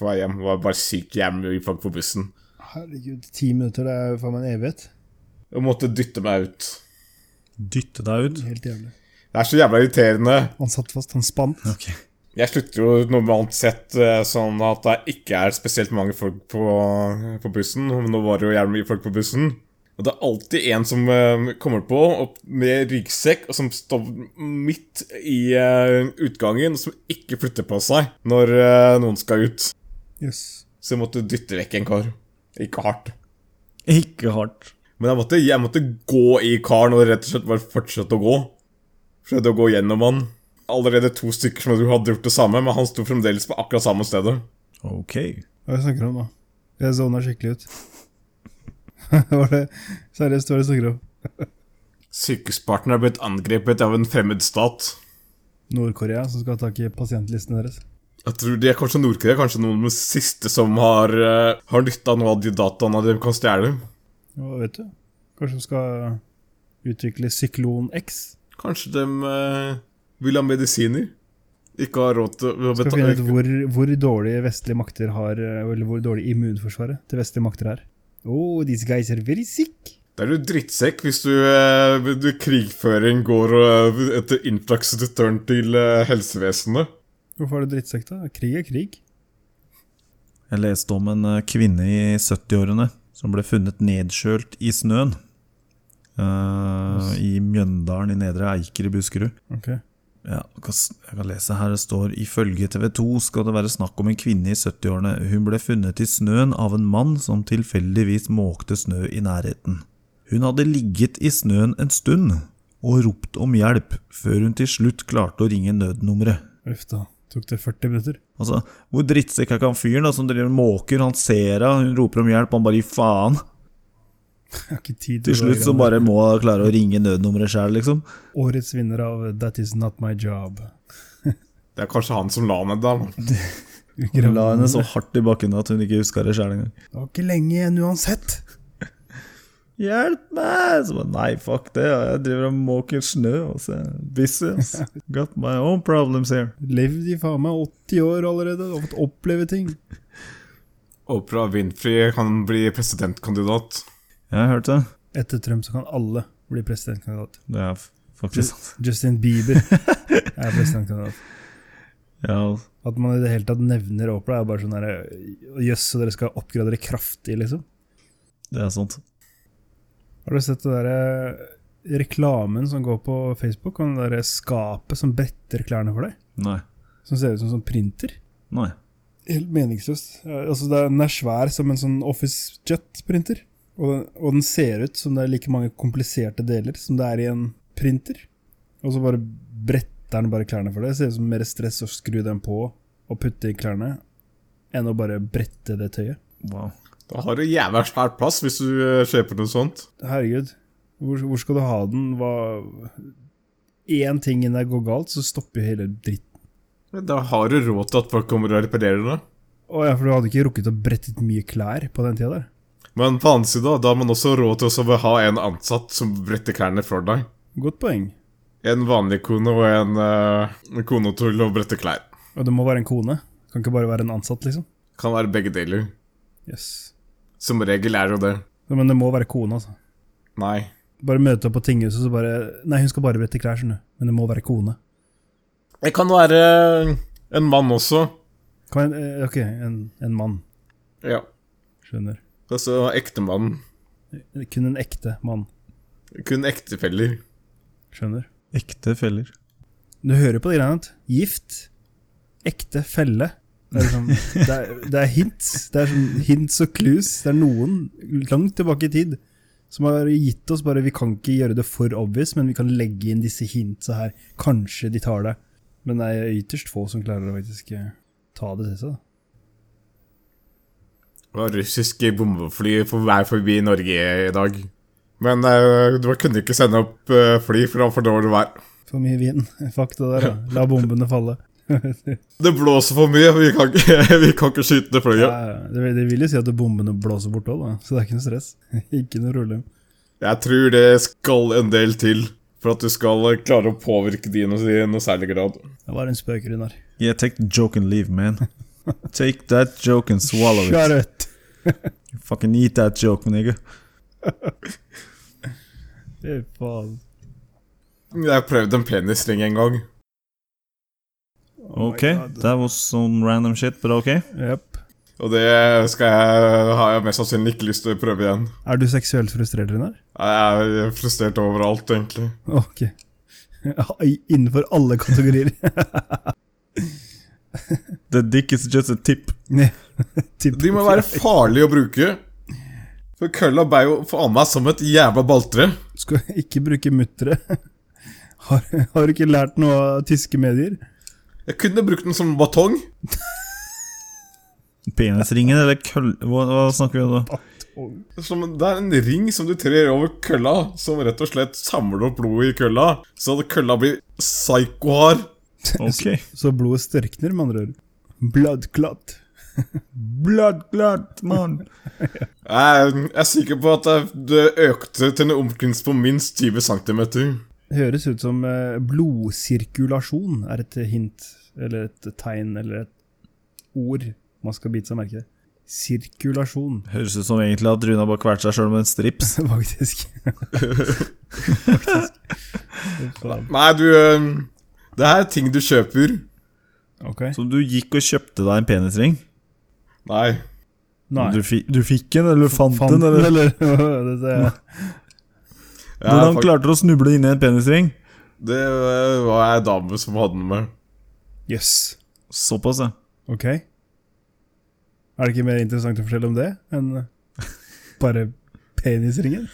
Speaker 3: på vei hjem. Det var bare sykt jævlig folk på bussen.
Speaker 2: Herregud, ti minutter, det er jo faen meg en evighet.
Speaker 3: Jeg måtte dytte meg ut.
Speaker 1: Dytte deg ut.
Speaker 2: Helt jævlig.
Speaker 3: Det er så jævla irriterende.
Speaker 2: Han satt fast, han spant.
Speaker 1: Ok.
Speaker 3: Jeg slutter jo normalt sett eh, sånn at det ikke er spesielt mange folk på, på bussen. men Nå var det jo jævlig mye folk på bussen. Og det er alltid en som eh, kommer på opp med ryggsekk, og som står midt i eh, utgangen, og som ikke flytter på seg når eh, noen skal ut.
Speaker 2: Yes.
Speaker 3: Så jeg måtte dytte vekk en kar. Ikke hardt.
Speaker 1: Ikke hardt.
Speaker 3: Men jeg måtte, jeg måtte gå i karen og rett og slett bare fortsette å gå. Prøvde å gå gjennom han. Allerede to stykker som hadde gjort det samme, men han sto fremdeles på akkurat samme stedet.
Speaker 1: Ok.
Speaker 2: Hva er det du snakker om nå? Jeg zona skikkelig ut. var det seriøst hva er det du snakker om?
Speaker 3: Sykehuspartner er blitt angrepet av en fremmed stat.
Speaker 2: Nord-Korea som skal ha tak i pasientlisten deres.
Speaker 3: Jeg tror de er kanskje Nord-Korea, kanskje noen av de siste som har, uh, har nytta noe av de dataene de kan stjele.
Speaker 2: Hva vet du? Kanskje de skal utvikle Syklon X?
Speaker 3: Kanskje de eh, vil ha medisiner? Ikke har råd til å
Speaker 2: Skal finne ut
Speaker 3: betale
Speaker 2: hvor, hvor dårlige vestlige makter har eh, Eller hvor dårlig immunforsvaret til vestlige makter er. Oh, these guys are very sick.
Speaker 3: Det er jo drittsekk hvis du, eh, du krigføring går eh, etter influx return til eh, helsevesenet.
Speaker 2: Hvorfor er du drittsekk, da? Krig er krig.
Speaker 1: Jeg leste om en eh, kvinne i 70-årene som ble funnet nedkjølt i snøen. eh, I Mjøndalen i Nedre Eiker i Buskerud.
Speaker 2: Ok.
Speaker 1: Ja, jeg kan s- jeg kan lese her det står Ifølge TV 2 skal det være snakk om en kvinne i 70-årene. Hun ble funnet i snøen av en mann som tilfeldigvis måkte snø i nærheten. Hun hadde ligget i snøen en stund og ropt om hjelp, før hun til slutt klarte å ringe nødnummeret.
Speaker 2: Uff da. Tok det 40 minutter?
Speaker 1: Altså, Hvor drittsekk er ikke han fyren da, som driver og måker? Han ser henne, hun roper om hjelp, han bare gir faen.
Speaker 2: Jeg har ikke tid
Speaker 1: Til
Speaker 2: å
Speaker 1: slutt så
Speaker 2: være-
Speaker 1: bare må han klare å ringe nødnummeret sjøl, liksom.
Speaker 2: Årets vinner av That Is Not My Job.
Speaker 3: Det er kanskje han som la ned der. da.
Speaker 1: Hun la henne så hardt i bakken at hun ikke huska det sjøl engang.
Speaker 2: Det var ikke lenge igjen uansett.
Speaker 1: 'Hjelp meg!' Så bare, Nei, fuck det, jeg driver og måker snø. Og så, Business. Got my own problems here.
Speaker 2: Levd i faen meg 80 år allerede og fått oppleve ting.
Speaker 3: Oprah Winfrey kan bli presidentkandidat.
Speaker 1: Jeg har hørt det.
Speaker 2: Etter Trump så kan alle bli presidentkandidat.
Speaker 1: Det er f- faktisk sant.
Speaker 2: Justin Bieber er presidentkandidat.
Speaker 1: Ja,
Speaker 2: At man i det hele tatt nevner Opera, er bare sånn herre Jøss, så dere skal oppgradere kraftig, liksom.
Speaker 1: det er sant.
Speaker 2: Har du sett det derre reklamen som går på Facebook, om det derre skapet som bretter klærne for deg?
Speaker 1: Nei.
Speaker 2: Som ser ut som en sånn printer?
Speaker 1: Nei.
Speaker 2: Helt meningsløst. Eh, Altså, det er, den er svær som en sånn Office Jet-printer. Og, den- og den ser ut som det er like mange kompliserte deler som det er i en printer. Og så bare bretter den bare klærne for deg. Det ser ut som mer stress å skru den på og putte i klærne enn å bare brette det tøyet.
Speaker 1: Wow.
Speaker 3: Da har du jævla svært plass hvis du eh, kjøper noe sånt.
Speaker 2: Herregud, hvor, hvor skal du ha den? Hva Én ting inni deg går galt, så stopper jo hele dritten.
Speaker 3: Men Da har du råd til at folk kommer og reparerer det.
Speaker 2: Å ja, for du hadde ikke rukket å brette ut mye klær på den tida der.
Speaker 3: Men på annen side, da, da har man også råd til å så ha en ansatt som bretter klærne for deg.
Speaker 2: Godt poeng.
Speaker 3: En vanlig kone og en eh, kone til å brette klær.
Speaker 2: Og det må være en kone. Kan ikke bare være en ansatt, liksom.
Speaker 3: Kan være begge deler.
Speaker 2: Yes.
Speaker 3: Som regel er jo det.
Speaker 2: Ja, Men det må være kone, altså.
Speaker 3: Nei.
Speaker 2: Bare møte opp på tinghuset, så bare Nei, hun skal bare brette klær, skjønner du. Men det må være kone.
Speaker 3: Det kan være eh, en mann også.
Speaker 2: Kan jeg, eh, ok, en, en mann.
Speaker 3: Ja.
Speaker 2: Skjønner.
Speaker 3: Altså ektemann.
Speaker 2: Kun en ekte mann.
Speaker 3: Kun ektefeller.
Speaker 2: Skjønner.
Speaker 1: Ekte feller.
Speaker 2: Du hører på de greiene. vet du. Gift. Ekte felle. Det er, liksom, det er, det er hints. Det er sånn hints og clues. Det er noen langt tilbake i tid som har gitt oss bare Vi kan ikke gjøre det for obvious, men vi kan legge inn disse hintsa her. Kanskje de tar det. Men det er ytterst få som klarer å faktisk eh, ta det til seg. da.
Speaker 3: Og russiske bombefly på vei forbi Norge i dag. Men eh, du kunne ikke sende opp eh, fly fra for dårlig vær.
Speaker 2: For mye vind. Fuck det der, da. La bombene falle.
Speaker 3: Det blåser for mye, vi kan ikke, vi kan ikke skyte det
Speaker 2: Ja,
Speaker 3: flyet.
Speaker 2: det, vil- det vil jo si at bombene blåser bort òg, da. Så det er ikke noe stress. Ikke noe problem.
Speaker 3: Jeg tror det skal en del til for at du skal eh, klare å påvirke de i noe, i noe særlig grad.
Speaker 2: Det var en spøk, Runar.
Speaker 1: Yeah, take the joke and leave, man. Take that joke and swallow it.
Speaker 2: Shut up.
Speaker 1: Fucking eat that joke, nigga.
Speaker 2: Fy faen.
Speaker 3: Jeg prøvde en penisring en gang.
Speaker 2: Oh my
Speaker 1: Ok,
Speaker 2: God.
Speaker 1: that was some random shit, but ok.
Speaker 2: Yep.
Speaker 3: Og det skal jeg, har jeg mest sannsynlig ikke lyst til å prøve igjen.
Speaker 2: Er du seksuelt frustrert, Runar?
Speaker 3: Jeg er frustrert overalt, egentlig.
Speaker 2: Ok. I- Innenfor alle kategorier.
Speaker 1: The dick is just a tip.
Speaker 2: Nei, typ-
Speaker 3: De må være farlige å bruke. For kølla ble jo faen meg som et jævla balltre.
Speaker 2: Skal ikke bruke muttere. Har, har du ikke lært noe av tyske medier?
Speaker 3: Jeg kunne brukt den som batong.
Speaker 1: Penisringen eller køll... Hva, hva snakker vi om da?
Speaker 3: Som, det er en ring som du trer over kølla, som rett og slett samler opp blodet i kølla. Så at kølla blir psyko-hard.
Speaker 1: Ok.
Speaker 2: Så blodet størkner, med andre ord. Bloodclot.
Speaker 1: Bloodclot, man.
Speaker 3: Jeg, jeg er sikker på at det- det økte til en omkrins på minst 20 cm.
Speaker 2: Høres ut som eh, blodsirkulasjon er et hint, eller et tegn, eller et ord man skal bite seg merke i. Sirkulasjon.
Speaker 1: Høres ut som egentlig at Runa bare kvalte seg sjøl med en strips.
Speaker 2: Faktisk. Faktisk.
Speaker 3: Nei, du eh, Det her er ting du kjøper.
Speaker 2: Ok.
Speaker 1: Så du gikk og kjøpte deg en penisring?
Speaker 3: Nei.
Speaker 2: Nei.
Speaker 1: Du, fi, du fikk en, eller fant,
Speaker 2: Fant
Speaker 1: den, eller
Speaker 2: Dette er-
Speaker 3: Jeg, er
Speaker 1: Hvordan
Speaker 3: fakt-
Speaker 1: klarte du å snuble inn i en penisring?
Speaker 3: det eh, var ei dame som hadde den med.
Speaker 2: Jøss.
Speaker 1: Såpass, ja.
Speaker 2: Ok. Er det ikke mer interessant å fortelle om det enn bare penisringen?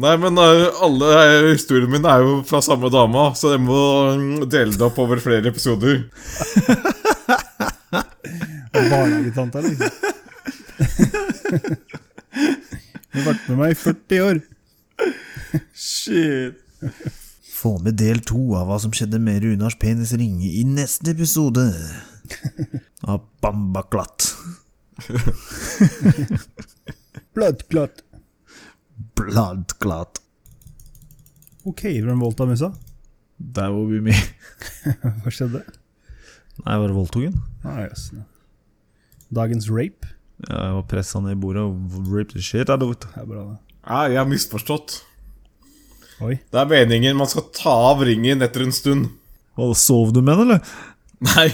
Speaker 3: Nei, men eh, alle eh, historiene mine er jo fra samme dama, så jeg må mm, dele det opp over flere episoder.
Speaker 2: Barnehagetanta, liksom. Hun har vært med meg i 40 år.
Speaker 1: Shit. Få med del to av hva som skjedde med Runars penisring i neste episode av Bambaklatt.
Speaker 2: Blødklatt.
Speaker 1: Bloodclot.
Speaker 2: OK, hvem voldta musa?
Speaker 1: Der hvor vi mye
Speaker 2: Hva skjedde?
Speaker 1: Nei, var det voldtogen?
Speaker 2: Ah, jøss. Dagens rape.
Speaker 1: Ja, Jeg var pressa ned i bordet og ripped the shit out of it.
Speaker 2: Det er bra, det.
Speaker 3: Nei, jeg har misforstått.
Speaker 2: Oi.
Speaker 3: Det er meningen man skal ta av ringen etter en stund.
Speaker 1: Hva, Sov du med den, eller?
Speaker 3: Nei.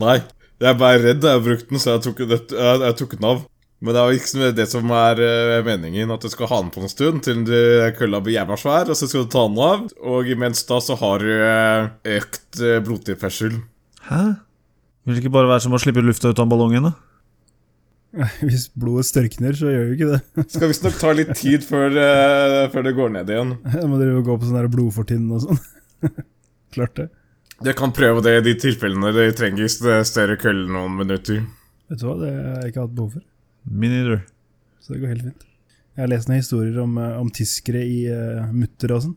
Speaker 3: Nei. Jeg ble redd da jeg brukte den, så jeg tok, det, jeg, jeg tok den av. Men det er jo ikke det som er eh, meningen, at du skal ha den på en stund til du kølla blir jævla svær, og så skal du ta den av, og imens da så har du eh, økt eh, blodtilførsel.
Speaker 1: Hæ? Vil det ikke bare være som å slippe lufta ut av ballongen, da?
Speaker 2: Hvis blodet størkner, så gjør jo ikke det.
Speaker 3: Skal visstnok ta litt tid før, eh, før det går ned igjen.
Speaker 2: Da må dere jo gå på sånn der blodfortynn og sånn. Klart det.
Speaker 3: Dere kan prøve det i de tilfellene dere trenger st- større kølle noen minutter.
Speaker 2: Vet du hva, det har jeg ikke hatt behov for.
Speaker 1: Me neither.
Speaker 2: Så det går helt fint. Jeg har lest noen historier om, eh, om tyskere i eh, mutter og sånn.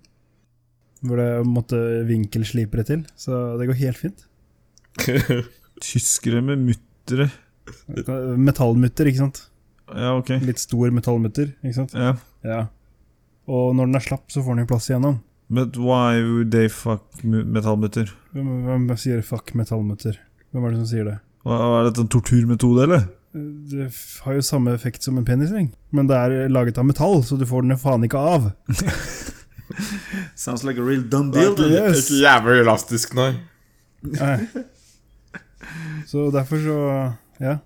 Speaker 2: Hvor det måtte vinkelslipere til. Så det går helt fint.
Speaker 1: Tyskere med muttere.
Speaker 2: Eh, Metallmutter, ikke sant.
Speaker 1: Ja, ok.
Speaker 2: Litt stor metallmutter, ikke sant.
Speaker 1: Ja.
Speaker 2: Ja. Og når den er slapp, så får den jo plass igjennom.
Speaker 1: But why would they fuck mu- metallmutter?
Speaker 2: Hvem, hvem sier fuck metallmutter? Hvem er det som sier det?
Speaker 1: Hva, er dette en torturmetode, eller?
Speaker 2: Det f- har jo samme effekt som en penisring, men det er laget av metall, så du får den jo faen ikke av.
Speaker 1: Sounds like a real dumb
Speaker 3: Det er ikke,
Speaker 2: Yes.
Speaker 3: ikke jævlig elastisk, nei.
Speaker 2: Nei. Så derfor så Ja.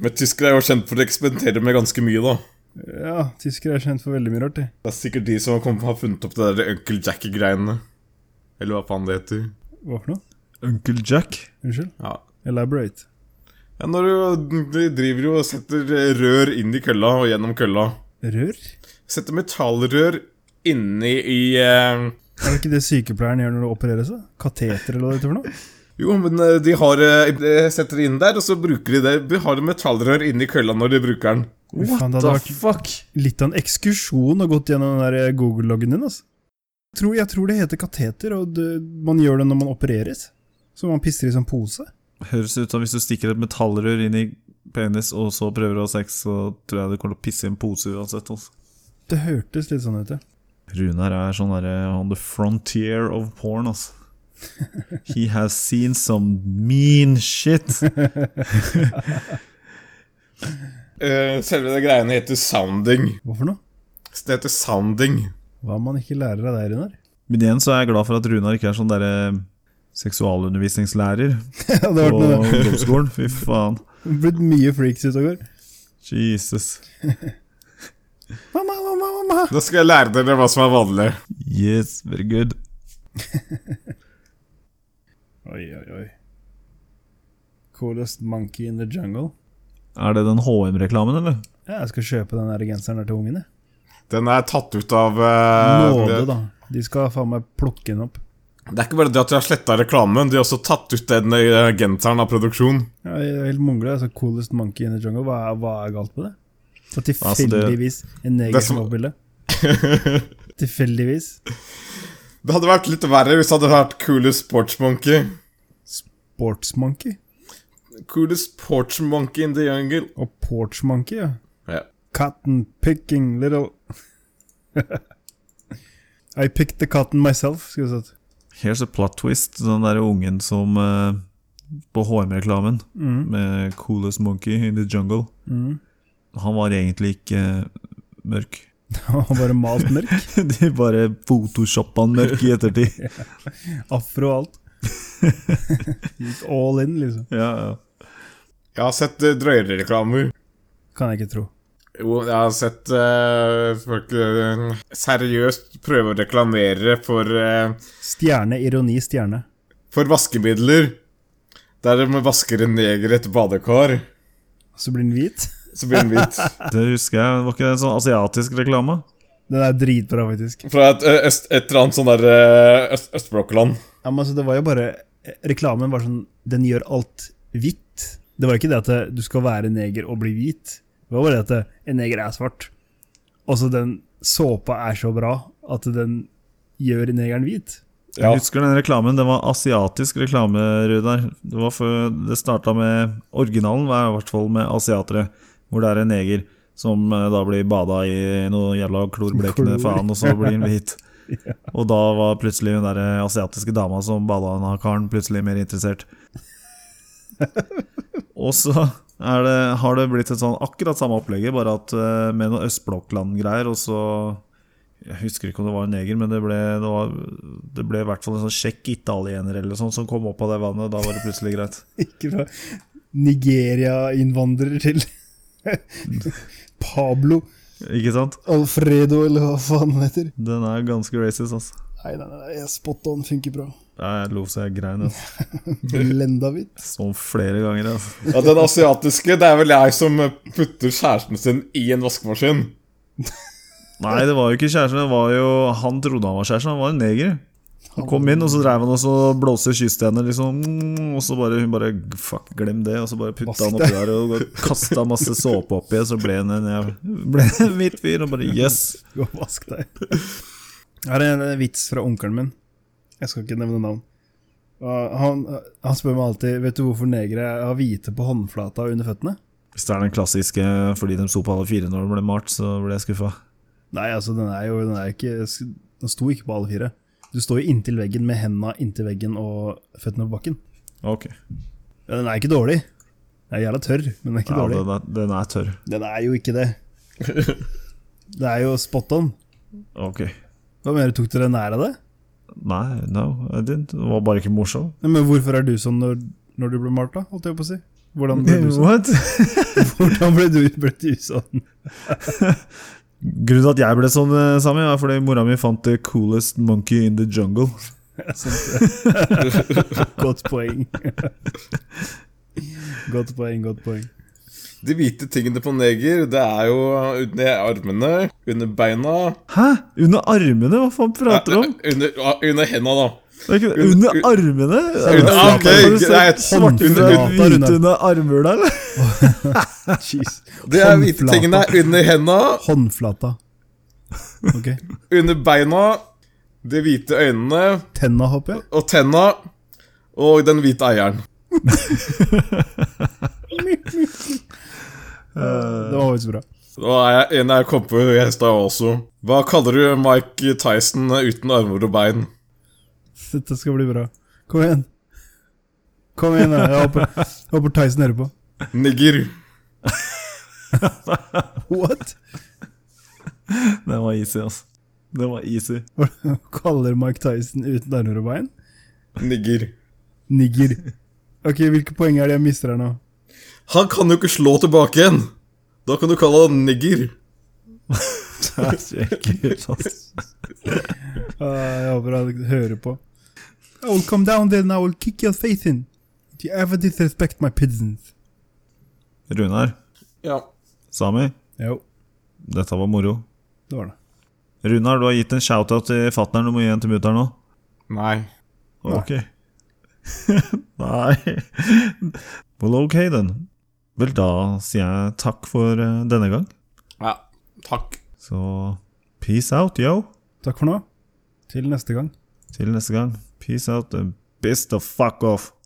Speaker 3: Men tyskere er jo kjent for å eksperimentere med ganske mye, da.
Speaker 2: ja tyskere er kjent for veldig mye rart, de.
Speaker 3: Det er sikkert de som kom, har funnet opp det der Uncle Jack-greiene. Eller hva faen det heter.
Speaker 2: Hva for noe?
Speaker 1: Uncle Jack?
Speaker 2: Unnskyld?
Speaker 3: Ja.
Speaker 2: Elaborate.
Speaker 3: ja når du, du driver jo og setter eh, rør inn i kølla og gjennom kølla.
Speaker 2: Rør?
Speaker 3: Setter metallrør inni i eh,
Speaker 2: Er det ikke det sykepleieren gjør når du opereres? da? Kateter eller hva det heter for noe?
Speaker 3: Jo, men eh, de har eh, de setter det inn der, og så bruker de det. De har metallrør inni kølla når de bruker den.
Speaker 2: What faen, det hadde vært
Speaker 1: fuck?
Speaker 2: litt av en ekskursjon å gått gjennom den der eh, Google-loggen din, altså. Jeg tror, jeg tror det heter kateter, og det, man gjør det når man opereres. Så man pisser i sånn pose.
Speaker 1: Høres ut som hvis du stikker et metallrør inn i penis, og så prøver å ha sex, så tror jeg du kommer til å pisse i en pose uansett. Altså.
Speaker 2: Det hørtes litt sånn ut, ja.
Speaker 1: Runar er sånn derre on the frontier of porn, altså. He has seen some mean shit.
Speaker 3: Eh, selve det greiene heter sounding.
Speaker 2: Hva for noe?
Speaker 3: Så det heter sounding.
Speaker 2: Hva man ikke lærer av deg, Runar?
Speaker 1: Men igjen så er jeg glad for at Runar ikke er sånn derre seksualundervisningslærer
Speaker 2: ja, det
Speaker 1: på
Speaker 2: har vært noe.
Speaker 1: ungdomsskolen. Fy faen.
Speaker 2: Det har blitt mye freaks ute og går.
Speaker 1: Jesus.
Speaker 2: Mamma, mamma, mamma!
Speaker 3: Da skal jeg lære dere hva som er vanlig.
Speaker 1: Yes, very good.
Speaker 2: Oi, oi, oi. Coolest monkey in the jungle.
Speaker 1: Er det den HM-reklamen, eller?
Speaker 2: Ja, jeg skal kjøpe den der genseren der til ungene.
Speaker 3: Den er tatt ut av eh,
Speaker 2: Nåde,
Speaker 3: det-
Speaker 2: da. De skal faen meg plukke den opp.
Speaker 3: Det er ikke bare det at de har sletta reklamen, de har også tatt ut den eh, genseren av produksjon.
Speaker 2: Ja, jeg er helt mongle. Altså, coolest monkey in the jungle. Hva er, hva er galt med det? Så
Speaker 1: Altså, det-
Speaker 2: tilfeldigvis en neger
Speaker 3: det
Speaker 2: som
Speaker 3: som-
Speaker 2: oppbilde. tilfeldigvis.
Speaker 3: Det hadde vært litt verre hvis det hadde vært Coolest Porch Monkey.
Speaker 2: Sportsmonkey.
Speaker 3: Coolest Porch Monkey in the Jungle.
Speaker 2: Og porchmonkey, ja.
Speaker 3: Ja.
Speaker 2: Cotton picking little I picked the cotton myself, skulle jeg sagt.
Speaker 1: Here's a plot twist. Den derre ungen som eh, På HM-reklamen
Speaker 2: Mm.
Speaker 1: med 'Coolest Monkey in the Jungle'.
Speaker 2: Mm.
Speaker 1: Han var egentlig ikke eh, mørk.
Speaker 2: Han var bare malt mørk.
Speaker 1: De bare photoshoppa han mørk i ettertid.
Speaker 2: Afro og alt. Gikk all in, liksom.
Speaker 1: Ja, ja.
Speaker 3: Jeg har sett eh, drøyere reklamer.
Speaker 2: Kan jeg ikke tro.
Speaker 3: Jo, jeg har sett eh, folk eh, seriøst prøve å reklamere for, eh,
Speaker 2: Stjerne, ironi, stjerne.
Speaker 3: for vaskemidler. Der de vasker en neger i et badekar.
Speaker 2: Så blir den hvit.
Speaker 3: Så blir den hvit.
Speaker 1: Det husker jeg. Var ikke det en sånn asiatisk reklame?
Speaker 2: Den er dritbra, faktisk.
Speaker 3: Fra et, eh, øst, et eller annet sånn der eh, øst, østblokkland.
Speaker 2: Ja, men altså, det var jo bare Reklamen var sånn Den gjør alt hvitt. Det var ikke det at det- du skal være neger og bli hvit. Det var bare det at det- en neger er svart. Også den såpa er så bra at den gjør negeren hvit.
Speaker 3: Ja.
Speaker 1: Jeg husker den reklamen. Den var asiatisk reklame, Rudar. Det var før det starta med Originalen var i hvert fall med asiatere, hvor det er en neger Som eh, da blir bada i noe jævla klorblekende
Speaker 2: Klor.
Speaker 1: faen, og så blir han hvit. Og da var plutselig hun der eh, asiatiske dama som bada den av karen, plutselig mer interessert. Og så er det, har det blitt et sånn akkurat samme opplegget, bare at eh, med noe østblokkland-greier, og så Jeg husker ikke om det var en neger, men det ble, det var, det ble i hvert fall en sånn sjekk italiener eller sånn som kom opp av det vannet. Da var det plutselig greit.
Speaker 2: Ikke fra Nigeria-innvandrer til Pablo
Speaker 1: Ikke sant?
Speaker 2: Alfredo, eller hva faen han heter.
Speaker 1: Den er ganske racist, altså.
Speaker 2: Nei, nei, nei, jeg spot on funker bra.
Speaker 1: Jeg lo så jeg grein altså.
Speaker 2: Blenda hvitt.
Speaker 1: sånn flere ganger. Altså.
Speaker 3: Ja, Den asiatiske, det er vel jeg som putter kjæresten sin i en vaskemaskin.
Speaker 1: Nei, det var jo ikke kjæresten. Det var jo, han trodde han var kjæresten, han var en neger. Han kom inn, og så dreiv han og så blåste kysste henne, liksom. mm, Og så bare hun bare Fuck, glem det. Og så bare putta han oppi der og kasta masse såpe oppi, så ble han en jæv- ble en hvit fyr. Og bare yes.
Speaker 2: Gå og vask deg. Jeg har en en vits fra onkelen min. Jeg skal ikke nevne navn. Og Han, han spør meg alltid Vet du hvorfor negere har hvite på håndflata og under føttene.
Speaker 1: Hvis det er den klassiske fordi de sto på alle fire når de ble malt, så ble jeg skuffa.
Speaker 2: Nei, altså, den er jo den er ikke Den sto ikke på alle fire. Du står jo inntil veggen med henda inntil veggen og føttene på bakken.
Speaker 1: Ok.
Speaker 2: Ja, den er ikke dårlig. Den er jævla tørr, men den er ikke
Speaker 1: Ja,
Speaker 2: dårlig.
Speaker 1: den er, den er tørr.
Speaker 2: Den er jo ikke det. Det er jo spot on.
Speaker 1: Ok.
Speaker 2: Hva mener du, tok dere nær av det?
Speaker 1: Nei, no, I didn't. Det var bare ikke morsom.
Speaker 2: Nei, Men hvorfor er du sånn når, når du ble malt, da? Holdt jeg på å si. Hvordan ble du sånn?
Speaker 1: What?
Speaker 2: Hvordan ble du, ble du sånn?
Speaker 1: Grunnen til at jeg ble sånn, eh, Sami, er fordi mora mi fant the coolest monkey in the jungle.
Speaker 2: Godt poeng. Godt poeng, godt poeng.
Speaker 3: De hvite tingene på neger, det er jo under armene, under beina Eh,
Speaker 1: Hæ? Under armene? Hva faen prater du om?
Speaker 3: Under, ja, under henda, da.
Speaker 1: Det er ikke, under
Speaker 3: un-
Speaker 1: armene?
Speaker 3: Under-
Speaker 1: Har
Speaker 3: ok,
Speaker 1: du sett
Speaker 3: greit.
Speaker 1: Svartflata
Speaker 2: Under-
Speaker 1: rute under armhula, eller?
Speaker 2: Jeez.
Speaker 3: Det er hvite tingene under henda,
Speaker 2: Håndflata. Ok.
Speaker 3: under beina, de hvite øynene
Speaker 2: Tenna, håper jeg.
Speaker 3: og tenna og den hvite eieren.
Speaker 2: Det var faktisk bra.
Speaker 3: Og jeg, en jeg kom på i stad også. Hva kaller du Mike Tyson uten armer og bein?
Speaker 2: Dette skal bli bra. Kom igjen. Kom igjen, da. Jeg håper, håper Tyson hører på.
Speaker 3: Nigger.
Speaker 2: What?
Speaker 1: Den var easy, altså. Den var easy.
Speaker 2: Hva kaller Mike Tyson uten armer og bein?
Speaker 3: Nigger.
Speaker 2: Nigger. Ok, hvilke poeng er det jeg mister her nå?
Speaker 3: Han kan jo ikke slå tilbake igjen! Da kan du kalle han nigger.
Speaker 1: Herregud, altså.
Speaker 2: Ah, jeg håper han hører på. I will come down there and I will kick your face in. Do you ever disrespect my pigeons?
Speaker 1: Runar,
Speaker 3: Ja.
Speaker 1: Sami,
Speaker 2: Jo,
Speaker 1: dette var moro.
Speaker 2: det var det.
Speaker 1: Runar, du har gitt en shout-out til fatter'n. Du må gi en til mutter'n nå.
Speaker 3: Nei.
Speaker 1: Ok. Nei. Well, ok, den. Vel, da sier jeg takk for eh, denne gang.
Speaker 3: Ja. Takk.
Speaker 1: Så peace out, yo.
Speaker 2: Takk for nå. Til neste gang.
Speaker 1: Til neste gang. Peace out and piss the fuck off.